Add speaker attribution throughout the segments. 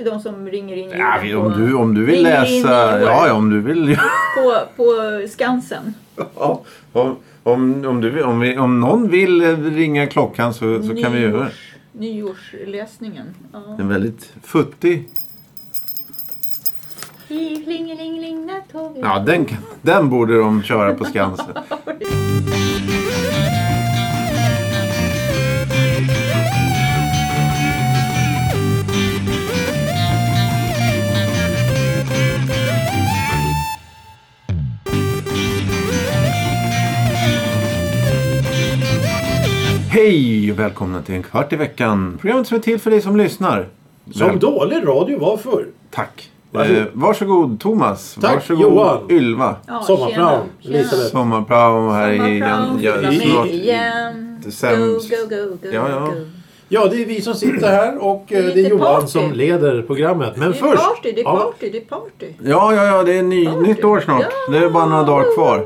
Speaker 1: De som ringer in
Speaker 2: Ja,
Speaker 1: ljuden
Speaker 2: om,
Speaker 1: på,
Speaker 2: du, om du vill
Speaker 1: ringer in
Speaker 2: läsa...
Speaker 1: ljuden
Speaker 2: Ja, ja, om du vill...
Speaker 1: på, på Skansen.
Speaker 2: Ja, om, om, om, du, om, vi, om någon vill eh, ringa klockan så, så kan vi göra det.
Speaker 1: Nyårsläsningen. Ja.
Speaker 2: En väldigt futtig...
Speaker 1: Klingelingeling, när tar vi?
Speaker 2: Ja, den, kan- den borde de köra på Skansen. Hej och välkomna till en kvart i veckan. Programmet som är till för dig som lyssnar.
Speaker 3: Som
Speaker 2: Väl-
Speaker 3: dålig radio var förr.
Speaker 2: Tack.
Speaker 3: Varsågod.
Speaker 2: Eh, varsågod Thomas.
Speaker 3: Tack,
Speaker 2: varsågod
Speaker 3: Johan.
Speaker 2: Ylva.
Speaker 1: Ja,
Speaker 3: Sommarplan,
Speaker 1: tjena,
Speaker 3: Elisabeth.
Speaker 1: tjena.
Speaker 2: Sommarprao här i...
Speaker 1: Sommarplan,
Speaker 2: ja,
Speaker 1: fylla
Speaker 3: i-
Speaker 2: snart-
Speaker 1: mig igen. Go,
Speaker 2: sämst.
Speaker 1: go, go, go,
Speaker 2: Ja, ja.
Speaker 1: go.
Speaker 3: Ja, det är vi som sitter här och eh,
Speaker 1: Det är
Speaker 3: det är
Speaker 1: lite
Speaker 3: Johan
Speaker 1: party.
Speaker 3: som leder programmet. Men
Speaker 1: Det är
Speaker 3: först...
Speaker 1: party, det är
Speaker 3: Ja,
Speaker 1: party, det är party.
Speaker 2: Ja, ja, ja, det är ny, nytt år snart.
Speaker 1: Ja.
Speaker 2: Det är bara några dagar kvar.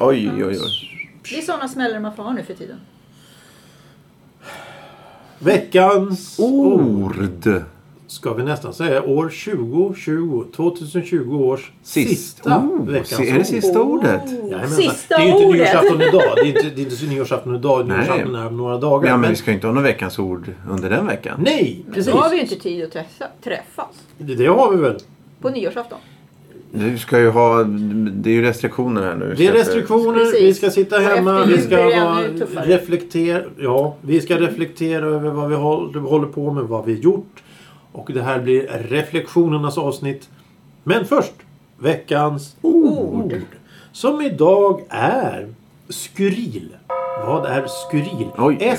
Speaker 2: Oj, oj, oj.
Speaker 1: Det är sådana smällare man får ha nu för tiden.
Speaker 3: veckans
Speaker 2: Oh.
Speaker 3: Oh,
Speaker 2: Ord.
Speaker 3: ska vi nästan säga, år 2020. 2020 års
Speaker 2: Sist.
Speaker 3: sista
Speaker 2: Oh,
Speaker 3: veckans
Speaker 2: är det sista ordet?
Speaker 3: Jajamensan.
Speaker 1: Sista
Speaker 3: det är ju inte
Speaker 1: ordet.
Speaker 3: nyårsafton idag. Det är inte, det är inte så nyårsafton idag.
Speaker 2: Nej.
Speaker 3: Nyårsafton är om några dagar.
Speaker 2: Ja, men
Speaker 3: men-
Speaker 2: vi ska ju inte ha någon veckans ord under den veckan.
Speaker 3: Nej, precis.
Speaker 1: Då har vi ju inte tid att träffa, träffas.
Speaker 3: Det, det har vi väl.
Speaker 1: På nyårsafton.
Speaker 2: Vi ska ju ha... Det är ju restriktioner här nu.
Speaker 3: Det är
Speaker 2: Så att- eh,
Speaker 3: restriktioner,
Speaker 1: Precis.
Speaker 3: vi ska sitta
Speaker 1: Och
Speaker 3: hemma,
Speaker 1: efter
Speaker 3: vi
Speaker 1: jul
Speaker 3: ska,
Speaker 1: blir det
Speaker 3: vara-
Speaker 1: ännu tuffare.
Speaker 3: reflektera, ja, vi ska reflektera över vad vi håll- håller på med, vad vi gjort. Och det här blir reflektionernas avsnitt. Men först, veckans ord. Som idag är skuril. Vad är skuril?
Speaker 2: Oj.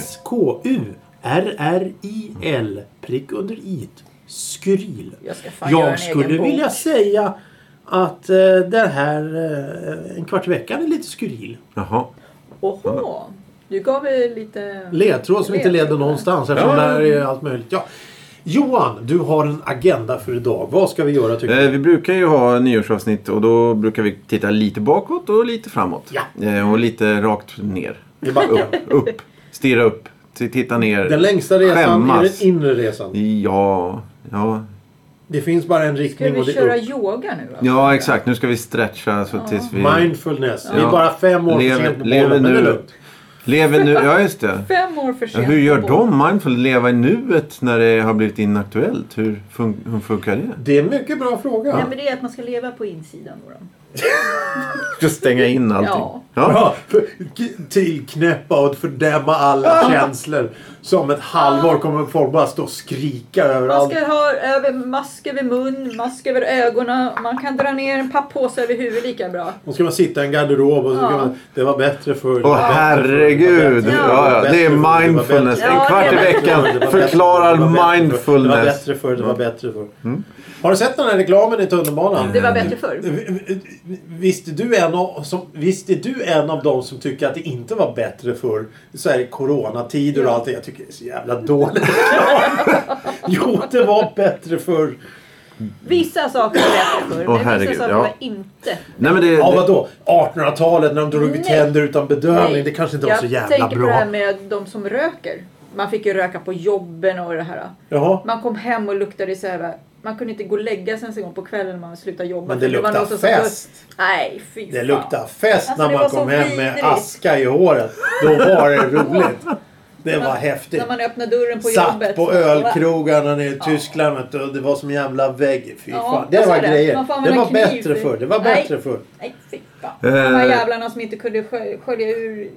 Speaker 3: S-K-U-R-R-I-L. Prick under i. Skuril.
Speaker 1: Jag ska fan göra en
Speaker 3: Jag
Speaker 1: egen
Speaker 3: skulle
Speaker 1: bok.
Speaker 3: vilja säga att eh, den här eh, en kvart i veckan är lite skuril.
Speaker 2: Jaha.
Speaker 1: Oho. Du gav väl lite...
Speaker 3: Ledtråd som inte leder någonstans eftersom
Speaker 2: Ja.
Speaker 3: där är allt möjligt. Ja. Johan, du har en agenda för idag. Vad ska vi göra tycker du?
Speaker 2: Eh, vi brukar ju ha nyårsavsnitt och då brukar vi titta lite bakåt och lite framåt.
Speaker 3: Ja.
Speaker 2: Eh, och lite rakt ner.
Speaker 3: Vi backar.
Speaker 2: Upp. Stirra upp. T- Titta ner.
Speaker 3: Den längsta resan
Speaker 2: Skämmas.
Speaker 3: är den inre resan.
Speaker 2: Ja, ja.
Speaker 3: Det finns bara en
Speaker 1: Ska
Speaker 3: riktning och
Speaker 1: vi
Speaker 3: det
Speaker 1: köra
Speaker 3: är upp.
Speaker 1: yoga nu? va?
Speaker 2: Ja, exakt. Nu ska vi stretcha så tills vi...
Speaker 3: Mindfulness. Vi
Speaker 2: Mm. Ja.
Speaker 3: är bara fem år
Speaker 2: Lev-
Speaker 3: för sent på
Speaker 2: lever
Speaker 3: bollen. Men
Speaker 2: nu.
Speaker 3: det är lugnt.
Speaker 2: Lever nu... Ja, just det.
Speaker 1: Fem år för
Speaker 2: Ja,
Speaker 1: sent.
Speaker 2: hur gör
Speaker 1: på
Speaker 2: de mindful? Leva i nuet när det har blivit inaktuellt? Hur, fun hur funkar det?
Speaker 3: Det är en mycket bra fråga.
Speaker 1: Nej, men det är att man ska leva på insidan. Då.
Speaker 2: Ska stänga in allting?
Speaker 1: Ja.
Speaker 3: Ja, för- k- tillknäppa och fördämma alla känslor. Som ett halvår kommer folk bara stå och skrika
Speaker 1: Man
Speaker 3: överallt.
Speaker 1: ska ha över mask över mun, mask över ögonen. Man kan dra ner en papppåse över huvudet lika bra.
Speaker 3: Och ska man sitta i en garderob och så ska
Speaker 1: Ja.
Speaker 3: man, Det var bättre förr.
Speaker 2: Åh herregud!
Speaker 1: Ja.
Speaker 2: Ja, ja. Det är mindfulness.
Speaker 1: Ja,
Speaker 2: En kvart i
Speaker 1: det är
Speaker 2: veckan förklarar
Speaker 3: Det var
Speaker 2: mindfulness. Mm.
Speaker 3: bättre förr, det var bättre förr. Har du sett den här reklamen i tunnelbanan?
Speaker 1: Det var bättre förr.
Speaker 3: Visste du, en av, som, visste du en av dem som tycker att det inte var bättre förr? Så här i coronatider och allting. Jag tycker det är så jävla dåligt. jo, det var bättre förr.
Speaker 1: Vissa saker var bättre förr,
Speaker 2: Åh,
Speaker 1: men vissa
Speaker 2: herregud,
Speaker 1: saker
Speaker 2: ja.
Speaker 1: var inte.
Speaker 2: Nej men det...
Speaker 3: Ja,
Speaker 2: det
Speaker 3: vadå? 1800-talet när de drog
Speaker 1: Nej.
Speaker 3: ut tänder utan bedövning.
Speaker 1: Nej.
Speaker 3: Det kanske inte var
Speaker 1: Jag
Speaker 3: så jävla
Speaker 1: tänker på det här
Speaker 3: bra.
Speaker 1: med de som röker. Man fick ju röka på jobben och det här.
Speaker 3: Jaha.
Speaker 1: Man kom hem och luktade så här. Man kunde inte gå och lägga sig ens en gång på kvällen när man slutade jobba.
Speaker 3: Men det
Speaker 1: För var
Speaker 3: luktar
Speaker 1: någon som sa-
Speaker 3: fest.
Speaker 1: Nej, fy
Speaker 3: Det
Speaker 1: fan.
Speaker 3: luktade fest
Speaker 1: Alltså,
Speaker 3: när
Speaker 1: det
Speaker 3: man
Speaker 1: var så
Speaker 3: kom hem med
Speaker 1: vidrigt.
Speaker 3: aska i håret. Då var det roligt. Det var häftigt.
Speaker 1: När man öppnade dörren på jobbet.
Speaker 3: Satt på
Speaker 1: så-
Speaker 3: ölkrogarna nere i Tyskland vet du, och det var som en jävla vägg. Fy
Speaker 1: Ja,
Speaker 3: fan.
Speaker 1: jag
Speaker 3: Det
Speaker 1: sa
Speaker 3: var
Speaker 1: det.
Speaker 3: grejer.
Speaker 1: Man får
Speaker 3: Det
Speaker 1: använda
Speaker 3: var
Speaker 1: kniv
Speaker 3: bättre
Speaker 1: för-
Speaker 3: förr. Det var
Speaker 1: Nej.
Speaker 3: bättre förr.
Speaker 1: Nej, fy fan. De här
Speaker 2: Eh.
Speaker 1: jävlarna som inte kunde skö- skölja ur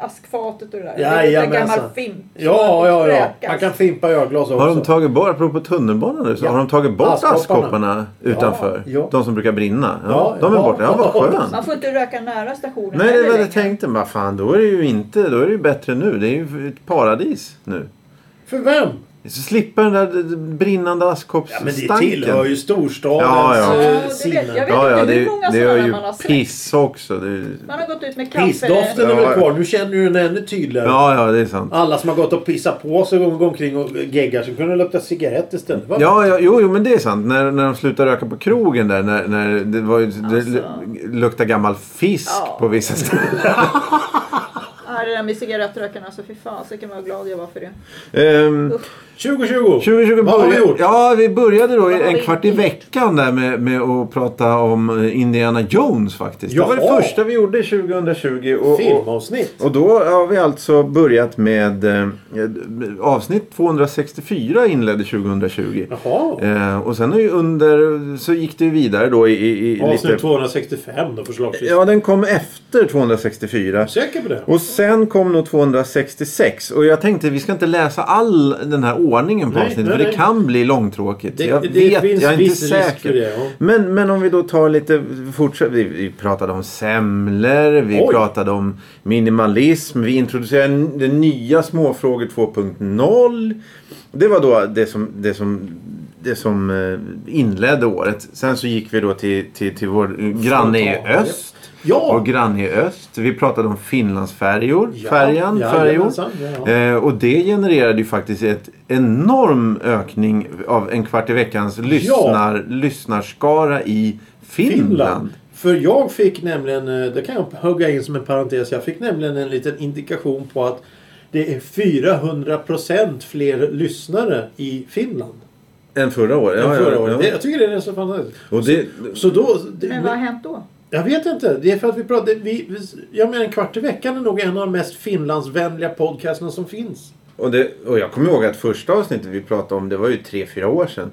Speaker 1: askfatet och det där. det är en
Speaker 3: Jajamensan.
Speaker 1: gammal fimp. som
Speaker 3: Ja,
Speaker 1: man
Speaker 3: ja,
Speaker 1: fick
Speaker 3: ja.
Speaker 1: röka.
Speaker 3: Man kan fimpa i ölglas också.
Speaker 2: Har de tagit bort, apropå tunnelbanan nu, så
Speaker 3: Ja.
Speaker 2: har de tagit bort
Speaker 3: Askkopparna.
Speaker 2: askkopparna utanför?
Speaker 3: Ja, ja.
Speaker 2: De som brukar brinna? Ja,
Speaker 3: Ja,
Speaker 2: de är
Speaker 3: ja.
Speaker 2: borta. Ja, vad skönt.
Speaker 1: Man får inte röka nära stationen
Speaker 2: Nej, det
Speaker 1: heller
Speaker 2: var det
Speaker 1: längre.
Speaker 2: jag tänkte. Vad fan, då är det ju inte... Då är det ju bättre nu. Det är ju ett paradis nu.
Speaker 3: För vem?
Speaker 2: Så slipper den där brinnande
Speaker 3: Ja, men
Speaker 2: askkoppsstanken.
Speaker 3: det tillhör ju
Speaker 2: Ja,
Speaker 3: storstadens
Speaker 2: ja.
Speaker 3: eh,
Speaker 1: Ja, det vet- jag
Speaker 3: sinne.
Speaker 1: vet.
Speaker 2: Ja, ja,
Speaker 1: inte hur
Speaker 2: det,
Speaker 1: många
Speaker 2: det
Speaker 1: sådana
Speaker 2: är ju
Speaker 1: man har sett.
Speaker 2: piss också. Det är, ju-
Speaker 1: Man har gått ut med kaffe.
Speaker 3: Pissdoften är
Speaker 2: Ja.
Speaker 3: väl kvar. Nu känner du den ännu tydligare.
Speaker 2: ja, ja, det är sant.
Speaker 3: Alla som har gått och pissat på sig och går omkring och geggar så kunde de lukta cigarett istället. Va?
Speaker 2: Ja, ja jo, jo, men det är sant. När, när de slutade röka på krogen där, när, när det, var, ju- det
Speaker 1: Alltså.
Speaker 2: lu- luktade gammal fisk
Speaker 1: Ja.
Speaker 2: på vissa ställen.
Speaker 1: Ja, det där med cigarettrökarna. Alltså fy fan, så kan man vara glad jag var för det.
Speaker 2: Ehm,
Speaker 1: Usch.
Speaker 3: 2020!
Speaker 2: 2020
Speaker 3: Vad har vi
Speaker 2: började-
Speaker 3: gjort?
Speaker 2: Ja, vi började då
Speaker 1: Vad har
Speaker 2: en
Speaker 1: vi
Speaker 2: kvart i
Speaker 1: gjort?
Speaker 2: veckan där med, med att prata om eh, Indiana Jones faktiskt. Det var
Speaker 3: Jaha.
Speaker 2: det första vi gjorde 2020. Och, och,
Speaker 3: Filmavsnitt.
Speaker 2: och då har vi alltså börjat med eh, avsnitt 264 inledde 2020.
Speaker 3: Jaha.
Speaker 2: Eh, och sen är ju under så gick det ju vidare då i, i, i
Speaker 3: Avsnitt
Speaker 2: lite...
Speaker 3: 265 då förslagsvis.
Speaker 2: Ja, den kom efter 264.
Speaker 3: Säker på det?
Speaker 2: Och sen kom nog 266 och jag tänkte vi ska inte läsa all den här ordningen på
Speaker 3: Nej,
Speaker 2: avsnittet
Speaker 3: nej,
Speaker 2: för det
Speaker 3: nej.
Speaker 2: kan bli långtråkigt.
Speaker 3: Det-
Speaker 2: jag
Speaker 3: det
Speaker 2: vet,
Speaker 3: finns
Speaker 2: jag är inte
Speaker 3: viss risk
Speaker 2: säker.
Speaker 3: för det, ja.
Speaker 2: men, men om vi då tar lite fortsatt. Vi, vi pratade om semlor, vi
Speaker 3: Oj.
Speaker 2: pratade om minimalism, vi introducerade n- det nya småfrågor 2.0. Det var då det som, det som det som eh, inledde året. Sen så gick vi då till, till, till vår granne i
Speaker 3: Frontal.
Speaker 2: öst.
Speaker 3: Ja!
Speaker 2: Vår granne i öst. Vi pratade om Finlandsfärjor.
Speaker 3: Ja,
Speaker 2: färjan,
Speaker 3: ja,
Speaker 2: färjor.
Speaker 3: jajamensan, ja.
Speaker 2: Eh, och det genererade ju faktiskt ett enorm ökning av en kvart i veckans lyssnar, lyssnarskara i Finland.
Speaker 3: Finland. För jag fick nämligen, eh, det kan jag hugga in som en parentes, jag fick nämligen en liten indikation på att det är 400% fler lyssnare i Finland.
Speaker 2: Än förra året.
Speaker 3: än
Speaker 2: Ja,
Speaker 3: förra
Speaker 2: ja,
Speaker 3: året. Det-
Speaker 2: Ja.
Speaker 3: Jag tycker det är så fantastiskt.
Speaker 2: Och det,
Speaker 3: Så då... Det,
Speaker 1: Men vad har hänt då?
Speaker 3: Jag vet inte. Det är för att vi pratar... Vi, vi- jag menar en kvart i veckan är nog en av de mest Finlandsvänliga podcasterna som finns.
Speaker 2: och, det, och jag kommer ihåg att första avsnittet vi pratade om det var ju tre, fyra år sedan.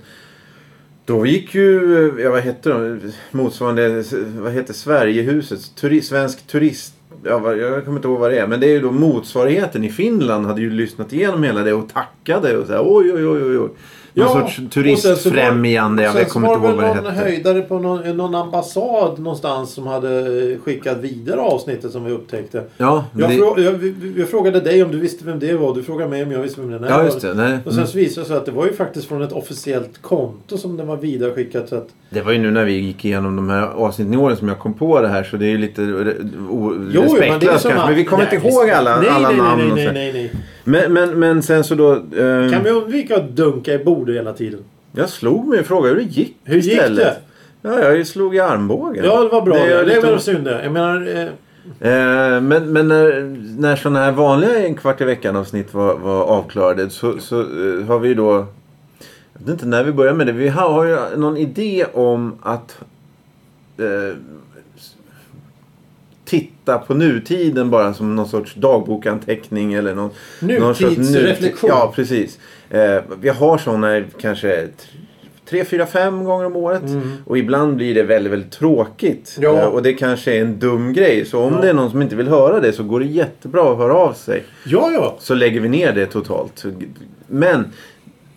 Speaker 2: Då gick ju, eh, ja, vad hette de, motsvarande, eh, vad heter Sverigehuset, turi, svensk turist, ja, vad- jag kommer inte ihåg vad det är, men det är ju då motsvarigheten i Finland hade ju lyssnat igenom hela det och tackade och så här, oj, oj, oj, oj, oj. Någon sorts turistfrämjande,
Speaker 3: och sen så var-
Speaker 2: jag, jag kommer inte ihåg vad det
Speaker 3: Sen så var det väl någon
Speaker 2: hette.
Speaker 3: höjdare på någon, någon ambassad någonstans som hade eh, skickat vidare avsnittet som vi upptäckte.
Speaker 2: Ja,
Speaker 3: Jag,
Speaker 2: det,
Speaker 3: frå, jag, vi- vi- jag frågade dig om du visste vem det var. Du frågade mig om jag visste vem den här
Speaker 2: ja,
Speaker 3: var.
Speaker 2: just det. Nej.
Speaker 3: Och sen
Speaker 2: Mm.
Speaker 3: så visade det sig att det var ju faktiskt från ett officiellt konto som den var vidareskickat. Så att,
Speaker 2: Det var ju nu när vi gick igenom de här avsnitten i åren som jag kom på det här så det är ju lite re- o- respektlöst
Speaker 3: som
Speaker 2: kanske.
Speaker 3: att-
Speaker 2: Men vi kommer
Speaker 3: Nej,
Speaker 2: inte ihåg
Speaker 3: visst.
Speaker 2: alla,
Speaker 3: nej,
Speaker 2: alla
Speaker 3: nej,
Speaker 2: namn och
Speaker 3: Nej,
Speaker 2: så.
Speaker 3: nej,
Speaker 2: här.
Speaker 3: nej, nej.
Speaker 2: Men, men, men sen så då... ehm,
Speaker 3: Kan vi undvika att dunka i bordet hela tiden?
Speaker 2: Jag slog mig och frågade hur det gick
Speaker 3: Hur gick
Speaker 2: istället. Ja, jag slog i armbågen.
Speaker 3: Ja, det var bra.
Speaker 2: Det liksom-
Speaker 3: Det,
Speaker 2: gör
Speaker 3: det
Speaker 2: lite
Speaker 3: var
Speaker 2: ont.
Speaker 3: synd det. Jag menar... Eh,
Speaker 2: Eh, men men när, när sådana här vanliga en kvart i veckan avsnitt var, var avklarade så, så eh, har vi ju då... Jag vet inte när vi börjar med det. Vi har, har ju någon idé om att eh, s- titta på nutiden bara som någon sorts dagbokanteckning eller någon, någon sorts
Speaker 3: Nutidsreflektion.
Speaker 2: Ja, precis. Eh, vi har sådana kanske t- tre, fyra, fem gånger om året. Och ibland blir det väldigt, väldigt tråkigt.
Speaker 3: Mm. Ja.
Speaker 2: Eh, och det kanske är en dum grej. Så om
Speaker 3: Ja.
Speaker 2: det är någon som inte vill höra det så går det jättebra att höra av sig.
Speaker 3: ja, ja.
Speaker 2: Så lägger vi ner det totalt. Men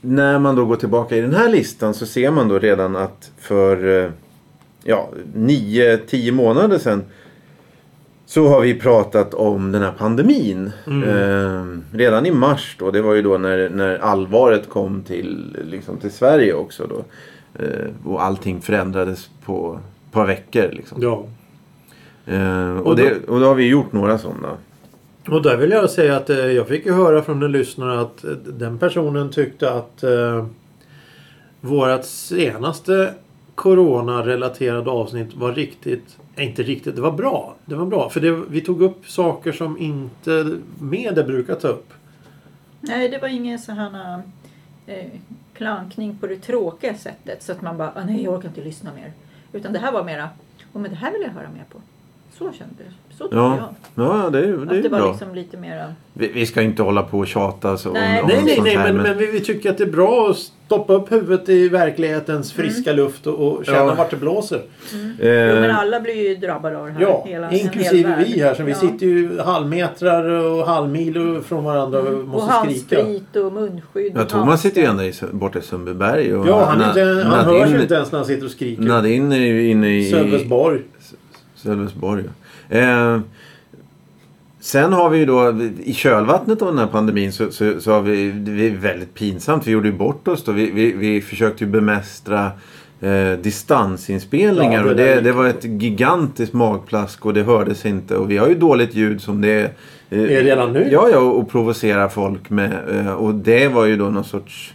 Speaker 2: när man då går tillbaka i den här listan så ser man då redan att för eh, ja, nio, tio månader sedan så har vi pratat om den här pandemin.
Speaker 3: Mm.
Speaker 2: Eh, redan i mars då. Det var ju då när, när allvaret kom till, liksom till Sverige också. Då. Eh, och allting förändrades på ett par veckor. Liksom.
Speaker 3: ja.
Speaker 2: Eh, och,
Speaker 3: Och då-
Speaker 2: det, och då har vi gjort några sådana.
Speaker 3: Och där vill jag säga att eh, jag fick ju höra från den lyssnare att eh, den personen tyckte att eh, vårat senaste coronarelaterade avsnitt var riktigt, eh, inte riktigt, det var bra. Det var bra för det, vi tog upp saker som inte media brukar ta upp.
Speaker 1: Nej, det var ingen sån här eh, klankning på det tråkiga sättet så att man bara, "Ah, nej jag orkar inte lyssna mer. Utan det här var mera, oh, men det här vill jag höra mer på. Så kände jag. Så tyckte
Speaker 2: Ja, ja det, är- det är
Speaker 1: jag. Att det
Speaker 2: ju
Speaker 1: var
Speaker 2: bra.
Speaker 1: liksom lite mera...
Speaker 2: Vi, vi ska inte hålla på och tjata så
Speaker 1: Nej.
Speaker 2: om, om
Speaker 3: Nej, nej,
Speaker 2: sånt
Speaker 3: nej,
Speaker 2: här.
Speaker 3: men, men vi, vi tycker att det är bra att stoppa upp huvudet i verklighetens friska luft och, och känna
Speaker 2: Mm. Ja.
Speaker 3: vart det blåser.
Speaker 2: eh,
Speaker 1: Jo, men alla blir ju drabbade av det här.
Speaker 3: Ja,
Speaker 1: hela- en hel
Speaker 3: inklusive
Speaker 1: värld.
Speaker 3: vi här. Så vi
Speaker 1: Ja.
Speaker 3: sitter ju halvmetrar och halvmil från varandra och
Speaker 1: Mm. Och
Speaker 3: måste skrika.
Speaker 1: handsprit och munskydd.
Speaker 2: ja,
Speaker 1: och
Speaker 2: Thomas sitter ju ända i, Sö- borta i Sundbyberg. Och
Speaker 3: Ja, han, är
Speaker 2: Na-
Speaker 3: inte, han
Speaker 2: Nadine-
Speaker 3: hörs ju inte ens när han sitter och skriker.
Speaker 2: Nadine är ju inne i
Speaker 3: Sölvesborg.
Speaker 2: Sölvesborg. ja. Eh, sen har vi ju då i kölvattnet av den här pandemin så, så, så har vi, det är väldigt pinsamt. Vi gjorde ju bort oss då. Vi, vi, vi försökte ju bemästra eh, distansinspelningar
Speaker 3: Ja, det
Speaker 2: och
Speaker 3: där
Speaker 2: det,
Speaker 3: gick-
Speaker 2: det var ett gigantiskt magplask och det hördes inte. Och vi har ju dåligt ljud som det är. eh,
Speaker 3: Är det redan nu?
Speaker 2: Ja, ja, och provocera folk med. eh, Och det var ju då någon sorts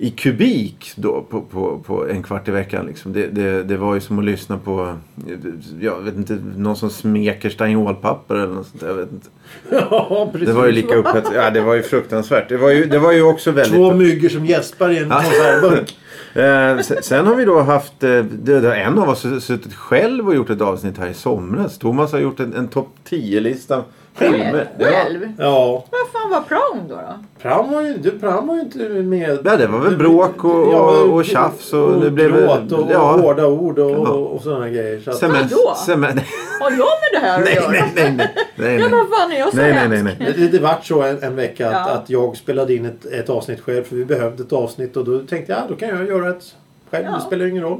Speaker 2: i kubik då på, på, på en kvart i veckan. Liksom. Det, det, det var ju som att lyssna på eh, jag vet inte, någon som smeker steinolpapper eller något sånt. där, Jag vet inte.
Speaker 3: Ja, precis.
Speaker 2: Det var ju lika upphetsande. Ja, det var ju fruktansvärt. Det var ju, det var ju också väldigt...
Speaker 3: Två myggor som gäspar i en konservburk.
Speaker 2: Eh, se- sen har vi då haft, eh, det, det, en av oss har suttit själv och gjort ett avsnitt här i somras. Thomas har gjort en, en topp 10-lista filmer.
Speaker 1: Själv?
Speaker 3: Ja.
Speaker 1: Vad fan var prong då? då?
Speaker 3: Pram var ju, du, Pram var ju inte med.
Speaker 2: Ja, det var väl bråk och- och- och tjafs och det blev-
Speaker 3: gråt och
Speaker 2: ja.
Speaker 3: hårda ord och,
Speaker 2: Ja.
Speaker 3: och, och sådana grejer. Så att,
Speaker 2: Cement,
Speaker 1: Vadå?
Speaker 2: cement,
Speaker 1: Har jag med det här att
Speaker 2: nej,
Speaker 1: göra?
Speaker 2: nej, nej, nej, nej,
Speaker 1: Ja,
Speaker 2: nej.
Speaker 1: vad fan är jag så
Speaker 2: Nej, nej,
Speaker 1: hemsk?
Speaker 2: nej, nej.
Speaker 3: det, det vart så en, en vecka att,
Speaker 1: Ja.
Speaker 3: att jag spelade in ett, ett avsnitt själv för vi behövde ett avsnitt och då tänkte jag ah, då kan jag göra ett själv.
Speaker 1: Ja.
Speaker 3: Det spelar ju ingen roll.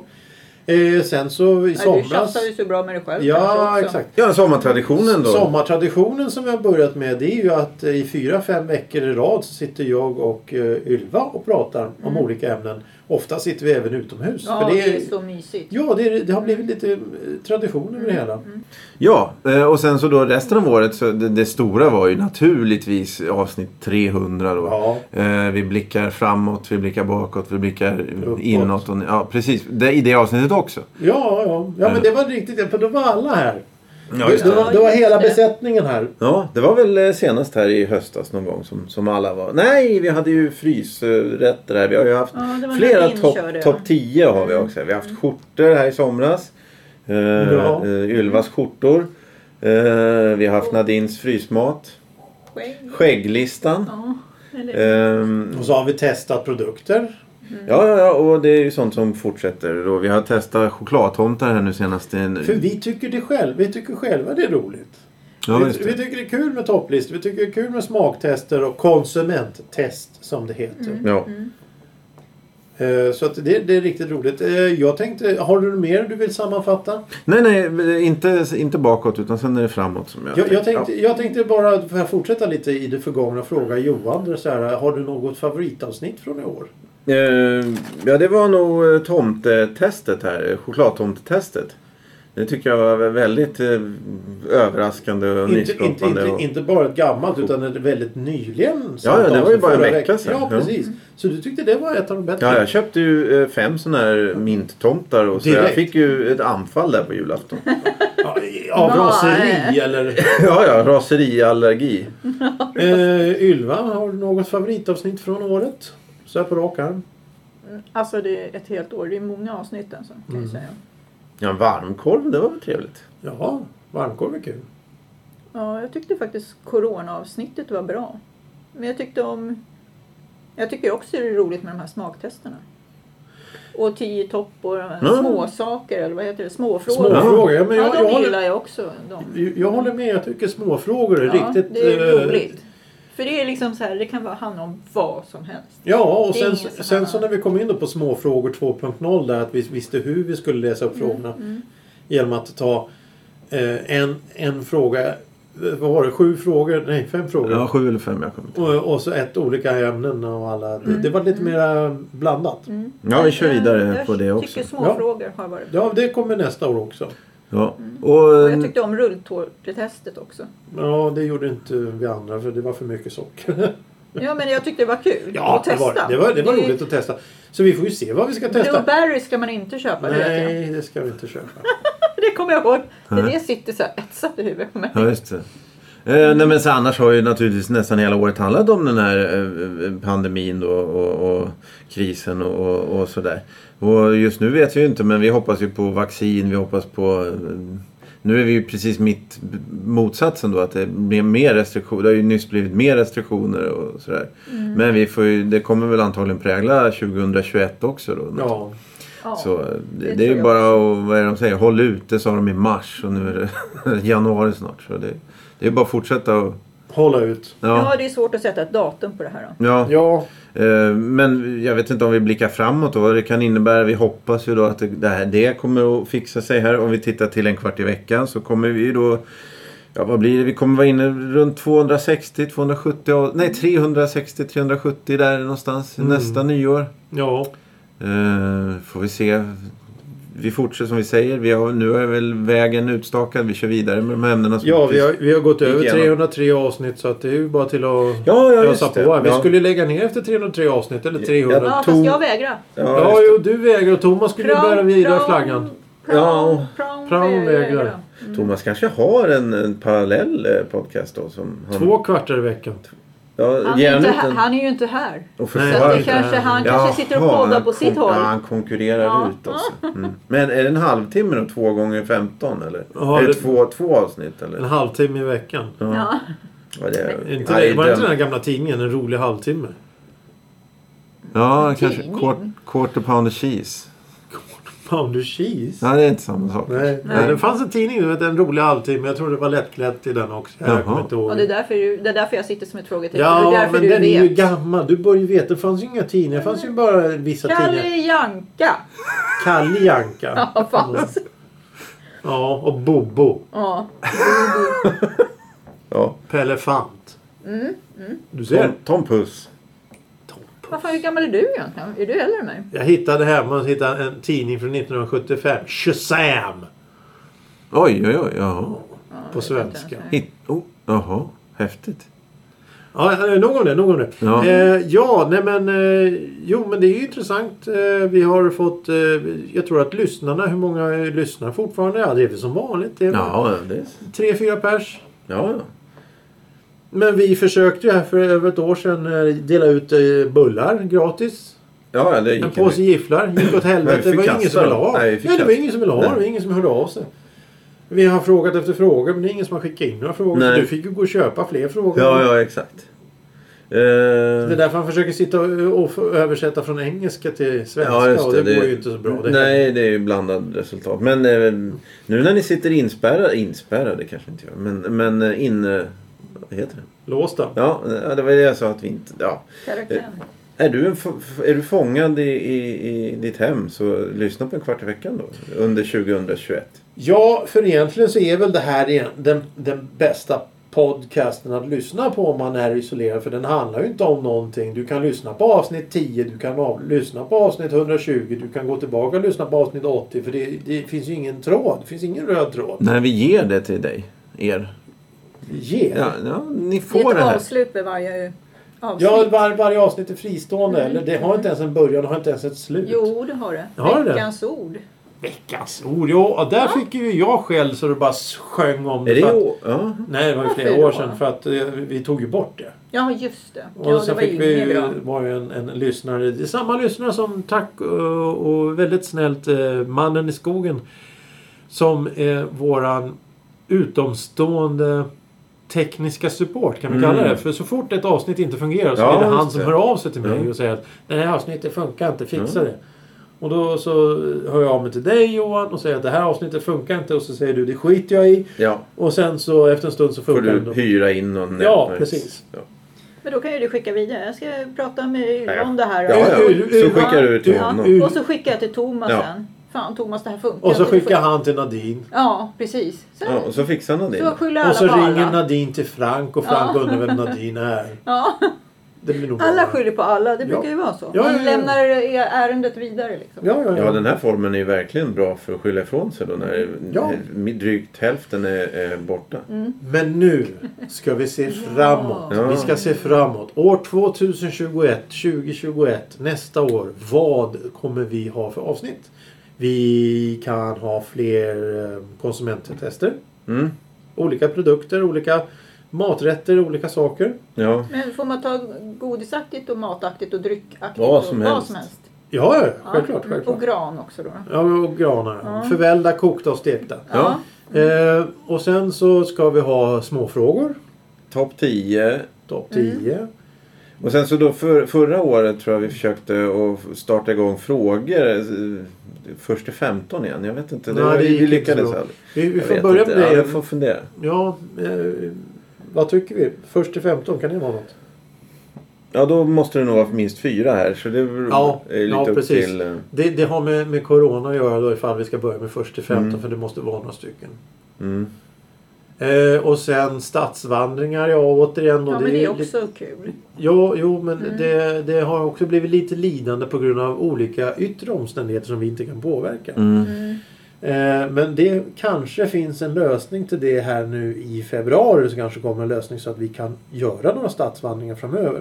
Speaker 3: Eh, sen så i
Speaker 1: Nej, du
Speaker 3: somras.
Speaker 1: tjafsar ju så bra med dig själv kanske
Speaker 3: Ja
Speaker 1: också.
Speaker 3: exakt.
Speaker 2: Ja, sommartraditionen då.
Speaker 3: Sommartraditionen som vi har börjat med det är ju att eh, i fyra, fem veckor i rad så sitter jag och eh, Ylva och pratar om olika ämnen. Ofta sitter vi även utomhus.
Speaker 1: Mm. Ja,
Speaker 3: för
Speaker 1: det är så Mm. mysigt.
Speaker 3: Ja, det, är- det har blivit lite eh, tradition över det hela.
Speaker 1: mm.
Speaker 2: Ja, eh, och sen så då resten av året så det, det stora var ju naturligtvis avsnitt 300 då.
Speaker 3: Ja.
Speaker 2: Eh, vi blickar framåt, vi blickar bakåt, vi blickar
Speaker 3: Uppåt.
Speaker 2: inåt. Och, ja, precis. Det, I det avsnittet också.
Speaker 3: Ja, ja. ja men det var riktigt. För då var alla här.
Speaker 2: Ja,
Speaker 3: det, var, det var
Speaker 1: Ja, just
Speaker 3: hela
Speaker 1: det.
Speaker 3: besättningen här.
Speaker 2: Ja, det var väl eh, senast här i höstas någon gång som, som alla var. Nej, vi hade ju frysrätter här. Vi har ju haft
Speaker 1: Ja, det var när
Speaker 2: flera
Speaker 1: vi
Speaker 2: topp
Speaker 1: inkörde,
Speaker 2: top
Speaker 1: ja.
Speaker 2: 10 har
Speaker 1: Mm.
Speaker 2: vi också. Vi har haft skjortor här i somras. Eh,
Speaker 3: Ja.
Speaker 2: eh, Ylvas skjortor. Eh, vi har haft Nadins frysmat.
Speaker 1: Skägg.
Speaker 2: Skägglistan.
Speaker 1: Ja, eller...
Speaker 2: Ehm,
Speaker 3: Och så har vi testat produkter.
Speaker 2: ja, ja, ja, och det är ju sånt som fortsätter. Då. Vi har testat chokladtomtar här nu senast. i en-
Speaker 3: För vi tycker det själv. Vi tycker själva det är roligt.
Speaker 2: Ja,
Speaker 3: vi,
Speaker 2: just
Speaker 3: vi
Speaker 2: det.
Speaker 3: tycker det är kul med topplistor. Vi tycker det är kul med smaktester och konsumenttest som det heter.
Speaker 2: Ja.
Speaker 1: Mm.
Speaker 3: Eh, Så att det, det är riktigt roligt. Eh, Jag tänkte, har du mer du vill sammanfatta?
Speaker 2: Nej, nej, inte, inte bakåt utan sen är det framåt som jag,
Speaker 3: Jag, jag,
Speaker 2: Ja.
Speaker 3: tänkte, jag tänkte bara, för att fortsätta lite i det förgångna, fråga Johan. det är Så här, har du något favoritavsnitt från i år?
Speaker 2: Eh, ja, det var nog eh, tomtetestet här. eh, Chokladtomtetestet. Det tycker jag var väldigt eh, överraskande och
Speaker 3: Inte, inte,
Speaker 2: nyskapande.
Speaker 3: inte,
Speaker 2: och...
Speaker 3: inte bara ett gammalt utan ett väldigt nyligen.
Speaker 2: Ja, ja, det var ju
Speaker 3: samtal,
Speaker 2: bara en
Speaker 3: förra
Speaker 2: vecka
Speaker 3: veck-
Speaker 2: sedan.
Speaker 3: Ja,
Speaker 2: Ja.
Speaker 3: precis. Så du tyckte det var ett av de bättre?
Speaker 2: Ja, jag köpte ju eh, fem sådana här minttomtar och så. Jag
Speaker 3: Direkt.
Speaker 2: fick ju ett anfall där på julafton.
Speaker 3: Ja, Av
Speaker 1: Ja,
Speaker 3: raseri eller?
Speaker 2: ja, ja, raseriallergi.
Speaker 3: Eh, Ylva, har du något favoritavsnitt från året? Så här på rak arm.
Speaker 1: Alltså det är ett helt år. Det är många avsnitt alltså, kan
Speaker 3: Mm.
Speaker 1: jag säga.
Speaker 2: Ja, en varmkorv, det var väl trevligt.
Speaker 3: Ja, varmkorv är kul.
Speaker 1: Ja, jag tyckte faktiskt coronaavsnittet var bra. Men jag tyckte om... Jag tycker också det är roligt med de här smaktesterna. Och tio topp och de här
Speaker 2: Mm.
Speaker 1: småsaker eller vad heter det? Småfrågor.
Speaker 3: Småfrågor. Ja, men jag,
Speaker 1: Ja,
Speaker 3: jag,
Speaker 1: de
Speaker 3: håller,
Speaker 1: gillar jag också. De.
Speaker 3: Jag jag håller med, jag tycker småfrågor är
Speaker 1: Ja,
Speaker 3: riktigt...
Speaker 1: det är
Speaker 3: eh,
Speaker 1: roligt. För det är liksom så här, det kan vara handla om vad som helst.
Speaker 3: Ja, och
Speaker 1: Det är
Speaker 3: sen,
Speaker 1: inget som
Speaker 3: sen
Speaker 1: handlar
Speaker 3: så
Speaker 1: om-
Speaker 3: när vi kom in då på småfrågor 2.0 där att vi visste hur vi skulle läsa upp
Speaker 1: Mm.
Speaker 3: frågorna. Genom att ta eh, en, en fråga, eh, vad var det, sju frågor? Nej, fem frågor.
Speaker 2: Ja, sju eller fem jag kommer inte ihåg.
Speaker 3: Och, och så ett olika ämnen och alla. Det, det var lite mer blandat.
Speaker 2: Ja, vi kör vidare
Speaker 1: eh, jag
Speaker 2: på det också.
Speaker 1: tycker småfrågor har varit bra.
Speaker 3: Ja, det kommer nästa år också.
Speaker 2: Ja. Och,
Speaker 1: Mm.
Speaker 2: eh,
Speaker 1: Och jag tyckte om rulltårtetestet också.
Speaker 3: Ja, det gjorde inte vi andra för det var för mycket socker.
Speaker 1: Ja, men jag tyckte det var kul
Speaker 3: ja,
Speaker 1: att
Speaker 3: det
Speaker 1: testa.
Speaker 3: var, det var, det var
Speaker 1: är ju-
Speaker 3: roligt att testa. Så vi får ju se vad vi ska testa.
Speaker 1: Blueberry ska man inte köpa, det vet jag.
Speaker 3: Nej, det ska vi inte köpa.
Speaker 1: Det kommer jag ihåg. Det
Speaker 2: Nej.
Speaker 1: Det sitter så här etsat i huvudet på mig.
Speaker 2: Ja, just det. Eh, Nej, men så annars har ju naturligtvis nästan hela året handlat om den här eh, pandemin då, och, och krisen och, och, och sådär. Och just nu vet vi ju inte men vi hoppas ju på vaccin, vi hoppas på... eh, Nu är vi ju precis mitt b- motsatsen då att det blir mer restriktioner. Det har ju nyss blivit mer restriktioner och sådär. Men vi får ju, det kommer väl antagligen prägla 2021 också då.
Speaker 3: Ja.
Speaker 1: Ja.
Speaker 2: Så eh,
Speaker 1: det
Speaker 2: det, det är
Speaker 1: tror
Speaker 2: ju
Speaker 1: jag
Speaker 2: bara att, vad är det de säger, håll ut. Det sa de i mars och nu är det januari snart. Så det, det är bara att fortsätta och...
Speaker 3: Hålla ut.
Speaker 1: Ja,
Speaker 2: Ja.
Speaker 1: det är svårt att sätta ett datum på det här. Då.
Speaker 2: ja.
Speaker 3: Ja,
Speaker 2: Eh, Men jag vet inte om vi blickar framåt och vad det kan innebära. Vi hoppas ju då att det- det, här, det kommer att fixa sig här. Om vi tittar till en kvart i veckan så kommer vi ju då... Ja, vad blir det? Vi kommer vara inne runt 260, 270, av- nej 360, 370 där någonstans nästa nyår.
Speaker 3: ja.
Speaker 2: Eh, får vi se. vi fortsätter som vi säger. Vi har, nu är väl vägen utstakad. Vi kör vidare med de här ämnena. Som
Speaker 3: Ja, vi har, vi har gått
Speaker 2: Gick
Speaker 3: över
Speaker 2: igenom.
Speaker 3: 303 avsnitt så att det är ju bara till att
Speaker 2: Ja, ja, just
Speaker 3: ösa
Speaker 2: det.
Speaker 3: på. här. Vi
Speaker 2: Ja.
Speaker 3: skulle lägga ner efter 303 avsnitt, eller 300.
Speaker 2: Ja,
Speaker 1: Ja,
Speaker 3: Tom-
Speaker 1: fast jag vägrar.
Speaker 2: Ja,
Speaker 3: Ja,
Speaker 2: just Mm.
Speaker 3: jo, du vägrar och Thomas skulle bära vidare flaggan.
Speaker 2: Ja.
Speaker 1: Ja. Praon,
Speaker 3: Praon
Speaker 1: praon
Speaker 3: vägrar.
Speaker 1: vägrar.
Speaker 2: det. Thomas kanske har en, en parallell eh, podcast då. Som han,
Speaker 3: Två kvartar i veckan.
Speaker 2: Ja,
Speaker 1: Han
Speaker 2: ge
Speaker 1: är,
Speaker 2: han
Speaker 1: inte,
Speaker 2: ut
Speaker 1: här-
Speaker 2: en.
Speaker 1: han är ju inte här.
Speaker 2: Och
Speaker 3: Nej,
Speaker 1: Så att
Speaker 2: försvara
Speaker 3: han är
Speaker 1: det
Speaker 2: inte.
Speaker 1: kanske, han kanske sitter och
Speaker 2: Jaha,
Speaker 1: poddar
Speaker 2: han
Speaker 1: på sitt
Speaker 2: kon-
Speaker 1: håll.
Speaker 2: ja, Han konkurrerar
Speaker 1: Ja.
Speaker 2: ut oss. Mm. Men är det en halvtimme då? Två gånger 15 eller?
Speaker 3: Ja,
Speaker 2: är det,
Speaker 3: det-
Speaker 2: två, två avsnitt eller?
Speaker 3: En halvtimme i veckan.
Speaker 1: Ja.
Speaker 2: Ja, det är,
Speaker 3: Inte
Speaker 2: Mm. nej,
Speaker 3: det, var det
Speaker 2: den-
Speaker 3: inte den här gamla tidningen, En rolig halvtimme?
Speaker 2: Ja, kanske
Speaker 1: Tidning.
Speaker 2: quar- quarter pounder cheese.
Speaker 3: Pounder cheese?
Speaker 2: Nej, det är inte samma sak.
Speaker 3: Nej.
Speaker 2: Nej.
Speaker 3: det fanns en tidning nu, En rolig halvtimme. Jag tror det var lättklätt i den också. Jag
Speaker 2: Jaha.
Speaker 3: kommer inte ihåg.
Speaker 1: Och det är, därför, du- det är därför jag sitter som ett frågetecken. det är
Speaker 3: Ja,
Speaker 1: därför
Speaker 3: men
Speaker 1: du
Speaker 3: den är ju
Speaker 1: vet.
Speaker 3: gammal. Du bör ju veta. Det fanns ju inga tidningar. Det fanns ju bara vissa tidningar.
Speaker 1: Kalle Janka.
Speaker 3: Kalle Janka.
Speaker 1: Ja, fanns.
Speaker 3: Ja, och Bobo.
Speaker 1: Ja.
Speaker 2: Ja.
Speaker 3: Pelefant.
Speaker 1: Mm,
Speaker 3: Du ser.
Speaker 2: Tom, Tom Puss.
Speaker 1: Vad fan, hur gammal är du egentligen? Är du äldre än mig?
Speaker 3: Jag hittade hemma jag hittade en tidning från 1975. Shazam!
Speaker 2: Oj, oj, oj. Jaha.
Speaker 3: På svenska.
Speaker 2: Hit, oh, jaha. Häftigt.
Speaker 3: Ja, eh, nog om det. Nog om det.
Speaker 2: Ja.
Speaker 3: Eh, ja, nej men... Eh, jo, men det är ju intressant. Eh, vi har fått... Eh, jag tror att lyssnarna... Hur många eh, lyssnar fortfarande? Ja, det är väl som vanligt. Det är
Speaker 2: Ja, det är...
Speaker 3: Tre, fyra pers.
Speaker 2: Ja, ja.
Speaker 3: Men vi försökte ju här för över ett år sedan eh, dela ut eh, bullar gratis.
Speaker 2: Ja, ja, det gick
Speaker 3: En påse gifflar. Gick åt
Speaker 2: Nej, vi
Speaker 3: helvete.
Speaker 2: fick
Speaker 3: Det var
Speaker 2: kasta
Speaker 3: ingen som ville
Speaker 2: dem.
Speaker 3: ha.
Speaker 2: Nej, vi
Speaker 3: Nej,
Speaker 2: fick
Speaker 3: det var
Speaker 2: kasta.
Speaker 3: ingen som ville ha. Det var ingen som hörde av sig. Vi har frågat efter frågor men det är ingen som har skickat in några frågor.
Speaker 2: Nej.
Speaker 3: Så du fick ju gå och köpa fler frågor.
Speaker 2: Ja, ja, exakt. Eh,
Speaker 3: Det är därför han försöker sitta och och få översätta från engelska till svenska.
Speaker 2: ja, just
Speaker 3: och
Speaker 2: det.
Speaker 3: det, går ju inte så bra. Det
Speaker 2: nej, det är ju blandad resultat. Men eh, nu när ni sitter inspärrade, inspärrade kanske inte gör, men, men eh, in... eh, Vad heter det?
Speaker 3: Låsta.
Speaker 2: Ja, eh, det var det jag sa att vi inte... Ja.
Speaker 1: Karaktär.
Speaker 2: Är du, en, f- f- är du fångad i, i, i ditt hem så lyssna på en kvart i veckan då. Under 2021.
Speaker 3: Ja, för egentligen så är väl det här en- den, den bästa podcasten att lyssna på om man är isolerad. För den handlar ju inte om någonting. Du kan lyssna på avsnitt 10, du kan av, lyssna på avsnitt 120, du kan gå tillbaka och lyssna på avsnitt 80. För det, det finns ju ingen tråd. Det finns ingen röd tråd.
Speaker 2: Nej, vi ger det till dig. Er.
Speaker 3: Ge!
Speaker 2: Ja, ja ni
Speaker 1: Det
Speaker 2: får
Speaker 1: är
Speaker 2: det
Speaker 1: ett
Speaker 2: här.
Speaker 1: avslut med varje avsnitt.
Speaker 3: Ja, var, varje avsnitt är fristående. Eller det har inte ens en början, det har inte ens ett slut.
Speaker 1: Jo, det har det.
Speaker 3: Har det?
Speaker 1: Veckans ord.
Speaker 3: Veckans ord, ja. och Där fick ju jag skäll så det bara sjöng om
Speaker 2: Är det
Speaker 3: för att-
Speaker 2: o- ja.
Speaker 3: Nej, det var ju
Speaker 1: Varför
Speaker 3: flera år
Speaker 1: då?
Speaker 3: sedan för att eh, vi tog ju bort det.
Speaker 1: Ja, just det.
Speaker 3: Och
Speaker 1: Ja, det
Speaker 3: sen
Speaker 1: var
Speaker 3: fick
Speaker 1: ju
Speaker 3: vi
Speaker 1: inget
Speaker 3: ju,
Speaker 1: bra.
Speaker 3: var ju en, en lyssnare, det är samma lyssnare som tack eh, och väldigt snällt eh, mannen i skogen. Som är våran utomstående tekniska support kan vi
Speaker 2: Mm.
Speaker 3: kalla det. För så fort ett avsnitt inte fungerar så
Speaker 2: Ja,
Speaker 3: är det han
Speaker 2: just
Speaker 3: som
Speaker 2: det.
Speaker 3: hör av sig till mig
Speaker 2: Mm.
Speaker 3: och säger att det här avsnittet funkar inte, fixa
Speaker 2: Mm.
Speaker 3: det. Och då så hör jag av mig till dig Johan och säger att det här avsnittet funkar inte och så säger du det skiter jag i.
Speaker 2: ja.
Speaker 3: Och sen så efter en stund så
Speaker 2: Får
Speaker 3: funkar det
Speaker 2: du
Speaker 3: ändå.
Speaker 2: hyra in någon
Speaker 3: Ja,
Speaker 2: nätverks-
Speaker 3: precis.
Speaker 2: Ja.
Speaker 1: Men då kan ju du skicka vidare. Jag ska prata med
Speaker 2: Ja.
Speaker 1: Ylva om det här.
Speaker 2: Ja, ja.
Speaker 3: Ur- ur-
Speaker 2: Så skickar du till
Speaker 1: Ja,
Speaker 2: honom.
Speaker 1: Och så skickar jag till Thomas
Speaker 2: Ja.
Speaker 1: sen. Fan Thomas, det här funkar
Speaker 3: Och så
Speaker 1: inte. Du får-
Speaker 3: skickar han till Nadine.
Speaker 1: Ja, precis. Sen,
Speaker 2: Ja, och så fixar han det.
Speaker 1: så skyller alla
Speaker 3: Och så
Speaker 1: på
Speaker 3: ringer
Speaker 1: alla.
Speaker 3: Nadine till Frank och Frank undrar vem Nadine är.
Speaker 1: Ja,
Speaker 3: Det blir nog
Speaker 1: alla
Speaker 3: bra.
Speaker 1: skyller på alla. Det brukar
Speaker 3: Ja.
Speaker 1: ju vara så.
Speaker 3: Ja,
Speaker 1: Man
Speaker 3: ja, ja.
Speaker 1: lämnar ärendet vidare liksom.
Speaker 3: Ja, ja, ja.
Speaker 2: Ja, den här formen är ju verkligen bra för att skylla ifrån sig då när
Speaker 3: Ja.
Speaker 2: drygt hälften är, är borta.
Speaker 3: Men nu ska vi se framåt.
Speaker 2: Ja.
Speaker 3: Vi ska se framåt. År 2021, 2021, nästa år. Vad kommer vi ha för avsnitt? Vi kan ha fler eh, konsumenttester.
Speaker 2: Mm.
Speaker 3: Olika produkter, olika maträtter, olika saker.
Speaker 2: Ja.
Speaker 1: Men får man ta godisaktigt och mataktigt och dryckaktigt?
Speaker 2: Vad som
Speaker 1: och
Speaker 2: helst.
Speaker 1: Vad som helst.
Speaker 3: Ja, ja,
Speaker 1: Ja.
Speaker 3: självklart.
Speaker 1: Mm,
Speaker 3: självklart.
Speaker 1: Och gran också då.
Speaker 3: Ja, och granar.
Speaker 1: Ja.
Speaker 3: Förvällda, kokta och stekta.
Speaker 2: Ja.
Speaker 3: Eh, och sen så ska vi ha småfrågor.
Speaker 2: Topp 10.
Speaker 3: Topp
Speaker 1: Mm.
Speaker 3: 10.
Speaker 2: Och sen så då för, förra året tror jag vi försökte att starta igång frågor. eh, Först till 15 igen. Jag vet inte. Det,
Speaker 3: Nej, det
Speaker 2: vi
Speaker 3: gick inte
Speaker 2: lyckades
Speaker 3: så bra.
Speaker 2: aldrig.
Speaker 3: Vi, vi
Speaker 2: Jag
Speaker 3: får
Speaker 2: vet
Speaker 3: börja
Speaker 2: inte.
Speaker 3: med
Speaker 2: Ja,
Speaker 3: det.
Speaker 2: jag får fundera.
Speaker 3: Ja, eh, vad tycker vi? Först till 15, kan det vara något?
Speaker 2: Ja, då måste det nog vara minst fyra här. Så det är
Speaker 3: Ja,
Speaker 2: är lite
Speaker 3: ja,
Speaker 2: upp
Speaker 3: precis.
Speaker 2: till... eh,
Speaker 3: Det, det har med, med Corona att göra då ifall vi ska börja med först till 15
Speaker 2: Mm.
Speaker 3: för det måste vara några stycken.
Speaker 2: Mm.
Speaker 3: Eh, och sen stadsvandringar, ja återigen. Och
Speaker 1: Ja, men det är
Speaker 3: ju lite-
Speaker 1: också Mm. kul.
Speaker 3: Jo, jo men det, det har också blivit lite lidande på grund av olika yttre omständigheter som vi inte kan påverka.
Speaker 1: Mm.
Speaker 3: Eh, men det kanske finns en lösning till det här nu i februari så kanske kommer en lösning så att vi kan göra några stadsvandringar framöver.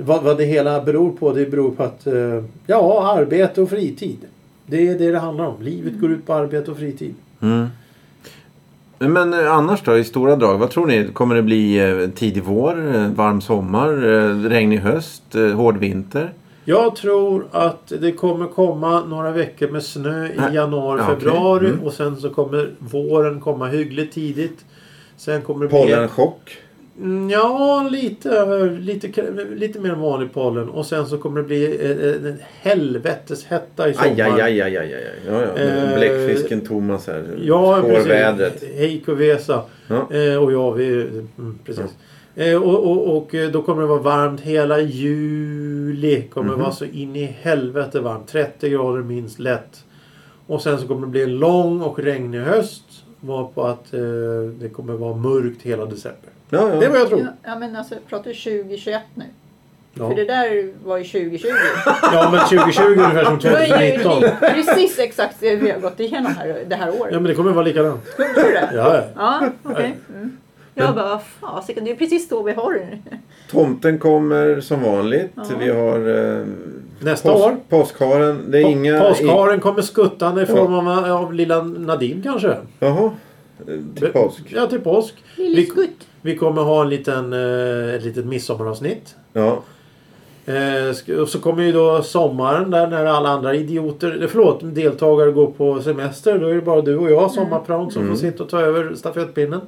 Speaker 3: Vad, vad det hela beror på, det beror på att eh, ja, arbete och fritid. Det är det det handlar om. Livet går ut på arbete och fritid.
Speaker 2: Mm. Men eh, annars då i stora drag, vad tror ni? Kommer det bli eh, tidig vår, eh, varm sommar, eh, regnig höst, eh, hård vinter?
Speaker 3: Jag tror att det kommer komma några veckor med snö i
Speaker 2: Nej.
Speaker 3: januari,
Speaker 2: Äh. Ja, okej.
Speaker 3: februari
Speaker 2: Mm.
Speaker 3: och sen så kommer våren komma hyggligt tidigt. Sen kommer det bli...
Speaker 2: Pollenchock?
Speaker 3: Mm, Ja, lite, lite, k- lite mer än vanlig pollen. Och sen så kommer det bli eh, en helvetes hetta i sommar.
Speaker 2: Aj, aj, aj, aj, aj, aj. aj. Ja, ja.
Speaker 3: Eh,
Speaker 2: Bläckfisken Thomas här.
Speaker 3: Ja, precis.
Speaker 2: Spårvädret.
Speaker 3: Heiko Vesa.
Speaker 2: Ja.
Speaker 3: Eh, och jag, vi... Mm, precis. Eh, och, och, och eh, då kommer det vara varmt hela juli. Kommer
Speaker 2: Mhm.
Speaker 3: det vara så in i helvete varmt. 30 grader minst lätt. Och sen så kommer det bli en lång och regnig höst. Varpå att eh, det kommer vara mörkt hela december.
Speaker 2: Ja, ja.
Speaker 3: Det är vad jag tror.
Speaker 1: Ja, ja, men alltså, pratar du 2021 nu?
Speaker 3: Ja,
Speaker 1: För det där var ju 2020.
Speaker 3: ja men 2020 är ungefär som
Speaker 1: Det var ju
Speaker 3: 2019.
Speaker 1: ni- precis exakt det vi har gått igenom här, det här året.
Speaker 3: Ja men det kommer vara likadant.
Speaker 1: Tror du det?
Speaker 3: Ja, ja.
Speaker 1: Ja, okej. Mm. Jag bara, vad fasiken, det är ju precis då vi har det.
Speaker 2: Tomten kommer som vanligt.
Speaker 1: Ja.
Speaker 2: Vi har eh,
Speaker 3: Nästa
Speaker 2: pås-
Speaker 3: år.
Speaker 2: påskharen. Det är inga...
Speaker 3: Pa- Påskharen kommer skuttande i
Speaker 2: Ja.
Speaker 3: form av, av lilla Nadine kanske.
Speaker 2: Jaha. Eh, Till påsk.
Speaker 3: Ja, till påsk.
Speaker 1: Lille
Speaker 3: Vi,
Speaker 1: Skutt.
Speaker 3: vi kommer ha en liten, eh, ett litet midsommaravsnitt.
Speaker 2: Ja.
Speaker 3: Eh, sk- och så kommer ju då sommaren där när alla andra idioter, eh, förlåt, deltagare går på semester. Då är det bara du och jag, sommarprån, som
Speaker 2: Mm.
Speaker 3: får sitta och ta över stafettpinnen.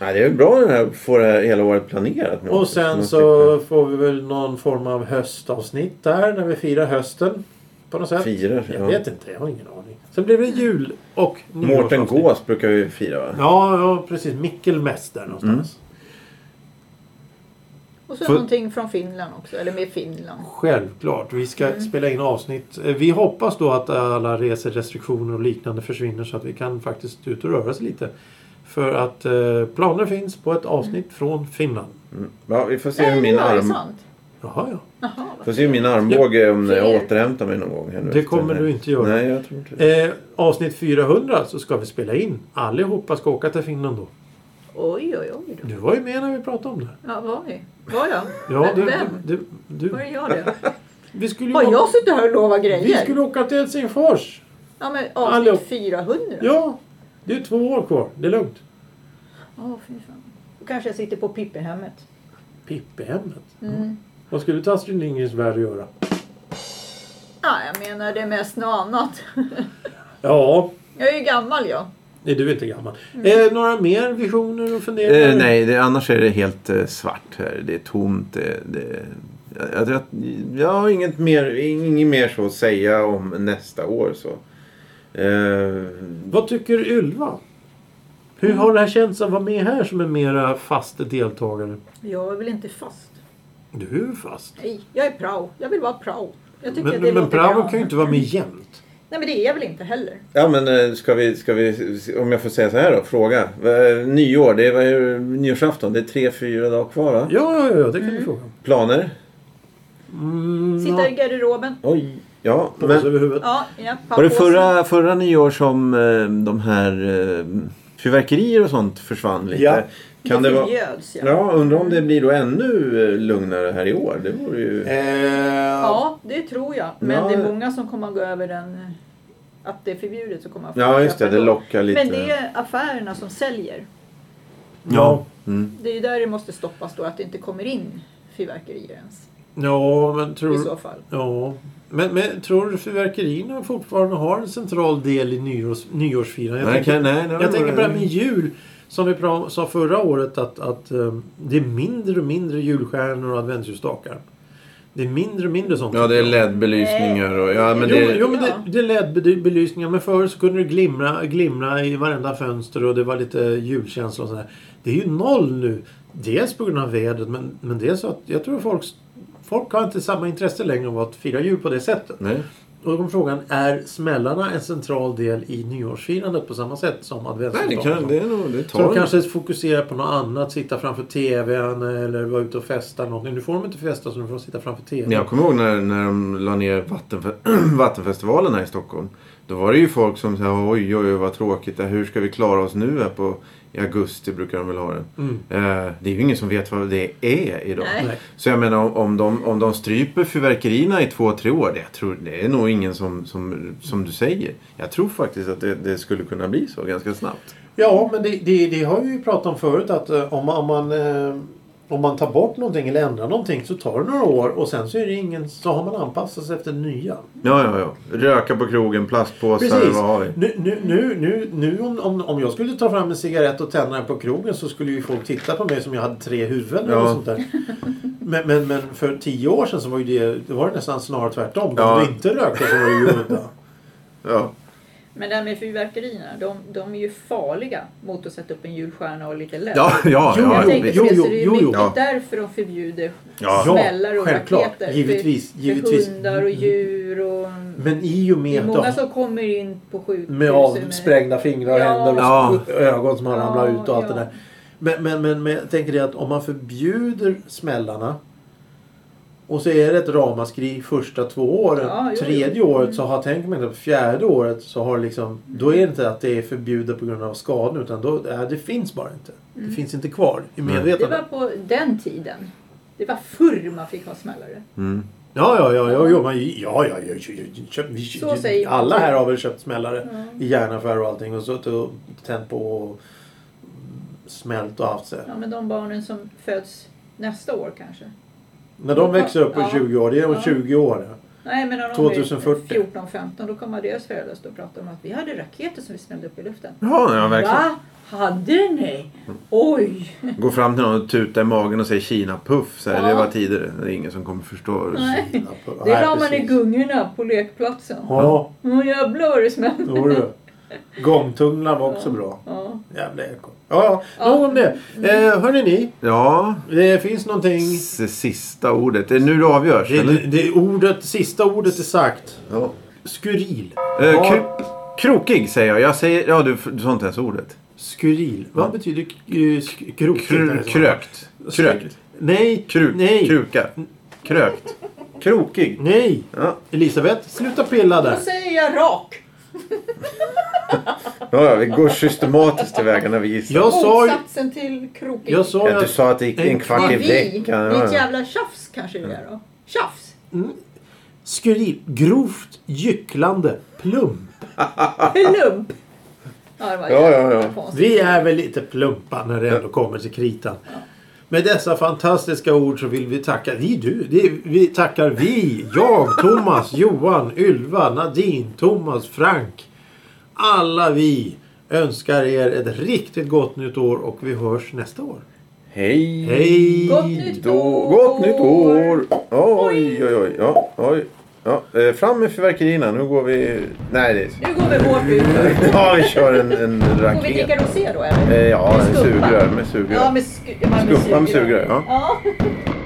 Speaker 2: Nej, det är bra den här, få det här hela året planerat. nu
Speaker 3: Och
Speaker 2: också,
Speaker 3: sen
Speaker 2: man
Speaker 3: så får vi väl någon form av höstavsnitt där när vi firar hösten. På något
Speaker 2: slipper
Speaker 3: sätt.
Speaker 2: Firar.
Speaker 3: Jag
Speaker 2: ja.
Speaker 3: vet inte, jag har ingen aning. Sen blir det jul och
Speaker 2: Mårten
Speaker 3: nyårsavsnitt.
Speaker 2: Gås brukar vi fira va?
Speaker 3: Ja, ja, precis. Mickelmäss där någonstans.
Speaker 2: Mm.
Speaker 1: Och så
Speaker 2: För-
Speaker 1: någonting från Finland också, eller med Finland.
Speaker 3: Självklart. Vi ska
Speaker 1: Mm.
Speaker 3: spela in avsnitt. Eh, Vi hoppas då att alla reserestriktioner och liknande försvinner så att vi kan faktiskt ut och röra oss lite. För att eh, planer finns på ett avsnitt
Speaker 1: Mm.
Speaker 3: från Finland.
Speaker 2: Ja, vi får se
Speaker 1: Nej,
Speaker 2: hur
Speaker 1: det
Speaker 2: min,
Speaker 1: var ju
Speaker 2: arm...
Speaker 1: sånt.
Speaker 3: Jaha, ja.
Speaker 1: Jaha, vad-
Speaker 2: får se hur min armbåge om jag
Speaker 1: Ser.
Speaker 2: återhämtar mig någon gång. Här nu
Speaker 3: Det
Speaker 2: efter
Speaker 3: kommer
Speaker 2: den här.
Speaker 3: du inte göra.
Speaker 2: Nej, jag tror inte det.
Speaker 3: Eh, avsnitt 400 så ska vi spela in. Allihopa ska åka till Finland då.
Speaker 1: oj, oj, oj. Då.
Speaker 3: Du var ju med när vi pratade om det.
Speaker 1: Ja, var vi? Var jag?
Speaker 3: Ja, du,
Speaker 1: Vem?
Speaker 3: du, du,
Speaker 1: Var
Speaker 3: du,
Speaker 1: det jag det?
Speaker 3: vi skulle ju
Speaker 1: Har jag
Speaker 3: åka,
Speaker 1: suttit här och lovat
Speaker 3: vi
Speaker 1: grejer?
Speaker 3: skulle åka till Helsingfors.
Speaker 1: Ja, men
Speaker 3: Hallå.
Speaker 1: avsnitt 400?
Speaker 3: Ja, det är två år kvar. Det är lugnt.
Speaker 1: Åh, fy fan. Då kanske jag sitter på Pippehemmet.
Speaker 3: Pippehemmet.
Speaker 1: Mm.
Speaker 3: Vad skulle Astrid Lindgrens värld göra?
Speaker 1: Ja, jag menar det mest något annat.
Speaker 3: Ja,
Speaker 1: Jag är ju gammal jag.
Speaker 3: nej, du är inte gammal.
Speaker 1: Mm.
Speaker 3: Eh, några mer visioner och funderingar?
Speaker 2: Eh, nej, det, annars är det helt eh, svart här. Det är tomt. Det, det, jag, jag, jag har inget mer, inget mer så att säga om nästa år. Så. Eh,
Speaker 3: Vad tycker Ylva? Hur
Speaker 1: Mm.
Speaker 3: har det här känts att vara med här som en mera fast deltagare?
Speaker 1: Jag är väl inte fast?
Speaker 3: Du är ju fast.
Speaker 1: Nej, jag är prao. Jag vill vara prao. Jag tycker
Speaker 3: Men,
Speaker 1: att det
Speaker 3: men
Speaker 1: låter
Speaker 3: praon
Speaker 1: bra.
Speaker 3: kan ju inte vara med jämt.
Speaker 1: Nej, men det är jag väl inte heller.
Speaker 2: ja, men eh, ska vi, ska vi, om jag får säga så här då, fråga. Eh, Nyår, det är, vad är det? nyårsafton. Det är tre, fyra dagar kvar
Speaker 1: Mm.
Speaker 2: va?
Speaker 3: Ja, ja, ja, det kan du fråga.
Speaker 2: Planer?
Speaker 3: Mm,
Speaker 1: Sitta i
Speaker 3: ja.
Speaker 1: garderoben.
Speaker 2: Oj, ja.
Speaker 3: Påse
Speaker 2: men-
Speaker 3: över huvudet.
Speaker 1: Ja, ja,
Speaker 2: Var det
Speaker 1: pappåsen.
Speaker 2: förra, förra nyår som eh, de här eh, fyrverkerier och sånt försvann lite?
Speaker 3: Ja.
Speaker 2: Kan det vara...
Speaker 1: förbjöds, ja.
Speaker 2: Ja, undrar om det blir då ännu eh, lugnare här i år. Det vore ju...
Speaker 3: Eh,
Speaker 1: Ja, det tror jag. Men
Speaker 2: Ja.
Speaker 1: det är många som kommer att gå över den... eh, Att det är förbjudet så kommer att
Speaker 2: Ja, just det.
Speaker 1: köpa
Speaker 2: Det lockar lite.
Speaker 1: Men det är affärerna som säljer.
Speaker 3: ja.
Speaker 2: Mm.
Speaker 1: Det är ju där det måste stoppas då, att det inte kommer in fyrverkerier ens.
Speaker 3: ja, men tror
Speaker 1: I så fall.
Speaker 3: Ja. Men, men tror du fyrverkerierna fortfarande har en central del i nyårs, nyårsfirandet?
Speaker 2: Nej, kan- nej, nej,
Speaker 3: jag tänker på det här med
Speaker 2: nej.
Speaker 3: jul. Som vi pra- sa förra året att, att eh, det är mindre och mindre julstjärnor och adventsljusstakar. Det är mindre och mindre sånt.
Speaker 2: Ja, det är LED-belysningar och... Ja, men
Speaker 3: Jo,
Speaker 2: det...
Speaker 3: jo, men
Speaker 1: Ja.
Speaker 3: det, det är LED-belysningar. Men förr så kunde det glimra, glimra i varenda fönster och det var lite julkänsla och sådär. Det är ju noll nu. Dels på grund av vädret men, men dels så att jag tror folk, folk har inte samma intresse längre av att fira jul på det sättet.
Speaker 2: Nej.
Speaker 3: Då kom frågan, är smällarna en central del i nyårsfirandet på samma sätt som
Speaker 2: Nej, det,
Speaker 3: adventsdagen?
Speaker 2: kan, det är nog... Det
Speaker 3: Så de
Speaker 2: tar
Speaker 3: kanske fokuserar på något annat, sitta framför TVn eller vara ute och festa eller någonting. Nu får de inte festa så nu får de sitta framför TVn.
Speaker 2: Jag kommer ihåg när, när de la ner vattenfe- vattenfestivalen här i Stockholm. Då var det ju folk som sa oj, oj, oj vad tråkigt. det här. Hur ska vi klara oss nu här på... I augusti brukar de väl ha den.
Speaker 3: Mm.
Speaker 2: Eh, det är ju ingen som vet vad det är idag.
Speaker 1: Nej.
Speaker 3: Nej.
Speaker 2: Så jag menar om, om, de, om de stryper fyrverkerierna i två, tre år. Det, jag tror, det är nog ingen som, som, som du säger. Jag tror faktiskt att det, det skulle kunna bli så ganska snabbt.
Speaker 3: Ja, men det, det, det har vi ju pratat om förut att eh, om man, om, man, eh, om man tar bort någonting eller ändrar någonting så tar det några år och sen så, är det ingen, så har man anpassat sig efter det nya.
Speaker 2: Ja, ja, ja. Röka på krogen, plastpåsar,
Speaker 3: Precis.
Speaker 2: vad har vi?
Speaker 3: Nu, nu, nu, nu, nu om, om, om jag skulle ta fram en cigarett och tända den på krogen så skulle ju folk titta på mig som jag hade tre huvuden eller
Speaker 2: Ja.
Speaker 3: sånt där. Men, men, men för tio år sedan så var ju det, det var det nästan snarare tvärtom.
Speaker 2: Ja.
Speaker 3: Om du inte rökte så var det ju udda.
Speaker 2: Ja.
Speaker 1: Men det här med fyrverkerierna, de, de är ju farliga mot att sätta upp en julstjärna och lite LED.
Speaker 2: Ja, ja,
Speaker 3: Jo,
Speaker 2: ja.
Speaker 1: jag
Speaker 3: jo,
Speaker 1: tänkte
Speaker 3: jo,
Speaker 1: det,
Speaker 3: jo,
Speaker 1: så det är ju
Speaker 3: jo, jo.
Speaker 1: mycket
Speaker 2: Ja.
Speaker 1: därför de förbjuder
Speaker 2: Ja.
Speaker 1: smällar och
Speaker 3: självklart.
Speaker 1: raketer.
Speaker 3: Givetvis,
Speaker 1: För,
Speaker 3: givetvis. Mm,
Speaker 1: för hundar och djur och...
Speaker 3: Men i och
Speaker 1: det är
Speaker 3: med
Speaker 1: många
Speaker 3: att
Speaker 1: som kommer in på sjukhus.
Speaker 3: de med avsprängda fingrar och
Speaker 1: Ja.
Speaker 3: händer och ögon som har
Speaker 1: Ja,
Speaker 3: ramlat ut och allt
Speaker 1: ja.
Speaker 3: det där. Men, men, men, men jag tänker det att om man förbjuder smällarna och så är det ett ramaskri första två åren.
Speaker 1: Ja, jo, jo.
Speaker 3: Tredje året så har, tänker man det, fjärde året så har det liksom, då är det inte att det är förbjudet på grund av skadan utan då, äh, det finns bara inte. Det finns inte kvar i
Speaker 1: Det
Speaker 3: medvetandet.
Speaker 1: var på den tiden. Det var förr man fick ha smällare.
Speaker 2: Mm.
Speaker 3: Ja, ja, ja, ja, ja, man- ja, ja, ja, ja, ja, ja, ja, vi-
Speaker 1: Så säger man.
Speaker 3: alla här har väl köpt smällare
Speaker 1: Ja.
Speaker 3: i järnaffärer och allting och suttit och tänt på och smält och haft sig.
Speaker 1: Ja, men de barnen som föds nästa år kanske.
Speaker 3: När de växer upp på
Speaker 1: Ja.
Speaker 3: 20 år, det är om
Speaker 1: Ja.
Speaker 3: 20 år.
Speaker 1: Nej, men när de
Speaker 3: 2040.
Speaker 1: är 14-15 då kommer deras föräldrar stå och prata om att vi hade raketer som vi smällde upp i luften.
Speaker 2: Ja, ja, verkligen.
Speaker 1: Va? Hade ni? Oj!
Speaker 2: Gå fram till någon och tuta i magen och säga Kina puff. Så här,
Speaker 1: Ja.
Speaker 2: Det var tidigare. Det är ingen som kommer förstå.
Speaker 1: Nej.
Speaker 3: Ja, på-
Speaker 1: Det
Speaker 3: nej,
Speaker 1: la man i
Speaker 3: precis.
Speaker 1: gungorna på lekplatsen.
Speaker 3: Ja,
Speaker 1: Åh jävlar vad det smällde.
Speaker 3: då du. Gångtunnlar var också
Speaker 1: Ja.
Speaker 3: bra.
Speaker 1: Ja.
Speaker 3: Jävla eko. Ja, ja,
Speaker 1: Ja. Mm.
Speaker 3: nog om det. Eh, hörni ni,
Speaker 2: Ja,
Speaker 3: det finns någonting.
Speaker 2: s- sista ordet. Det är nu det avgörs.
Speaker 3: Det,
Speaker 2: eller?
Speaker 3: det ordet, sista ordet är sagt.
Speaker 2: Ja.
Speaker 3: Skuril.
Speaker 2: Eh,
Speaker 3: Vad-
Speaker 2: kro- krokig säger jag. Jag säger... Ja, du, du sa inte ens ordet.
Speaker 3: Skuril. Vad
Speaker 2: Ja.
Speaker 3: betyder k- eh, sk- krokigt?
Speaker 2: Kru- krökt. Krökt.
Speaker 3: Nej.
Speaker 2: Kruk.
Speaker 3: Nej.
Speaker 2: Kruka. Krökt. Krokig.
Speaker 3: Nej.
Speaker 2: Ja,
Speaker 3: Elisabeth, sluta pilla
Speaker 1: Då
Speaker 3: där.
Speaker 1: säger jag rak.
Speaker 2: ja, ja vi går systematiskt tillväga när vi gissar.
Speaker 3: Jag sa ju...
Speaker 1: Motsatsen till krokig.
Speaker 3: Jag sa ju
Speaker 2: Ja, du
Speaker 3: att...
Speaker 2: sa att det gick en kvart
Speaker 1: Det
Speaker 2: i
Speaker 1: är vi.
Speaker 2: veckan.
Speaker 1: Mitt
Speaker 2: Ja,
Speaker 1: jävla tjafs kanske det är då. Tjafs!
Speaker 3: Skuril. Grovt gycklande. Plump.
Speaker 1: Plump! Ja, det var
Speaker 2: Ja, ja,
Speaker 1: jävla
Speaker 2: ja.
Speaker 1: konstigt.
Speaker 3: Vi är väl lite plumpa när det ändå kommer till kritan. Med dessa fantastiska ord så vill vi tacka... Vi, du. Det, vi tackar vi. Jag, Thomas, Johan, Ylva, Nadine, Thomas, Frank. Alla vi önskar er ett riktigt gott nytt år och vi hörs nästa år.
Speaker 2: Hej.
Speaker 3: Hej!
Speaker 1: Gott nytt
Speaker 2: Då,
Speaker 1: år!
Speaker 2: gott nytt år! Oj, oj, oj. Ja, oj. Ja, eh, fram med fyrverkerierna. Nu går vi... Nej, det är...
Speaker 1: Nu går vi hårt ut.
Speaker 2: Ja, vi kör en, en
Speaker 1: Får vi
Speaker 2: raket.
Speaker 1: dricka rosé då eller?
Speaker 2: Eh, Ja,
Speaker 1: Med
Speaker 2: en
Speaker 1: skumpa.
Speaker 2: sugrör. Med sugrör.
Speaker 1: Ja, med, sku- ja, med
Speaker 2: Skumpa med sugrör,
Speaker 1: Ja.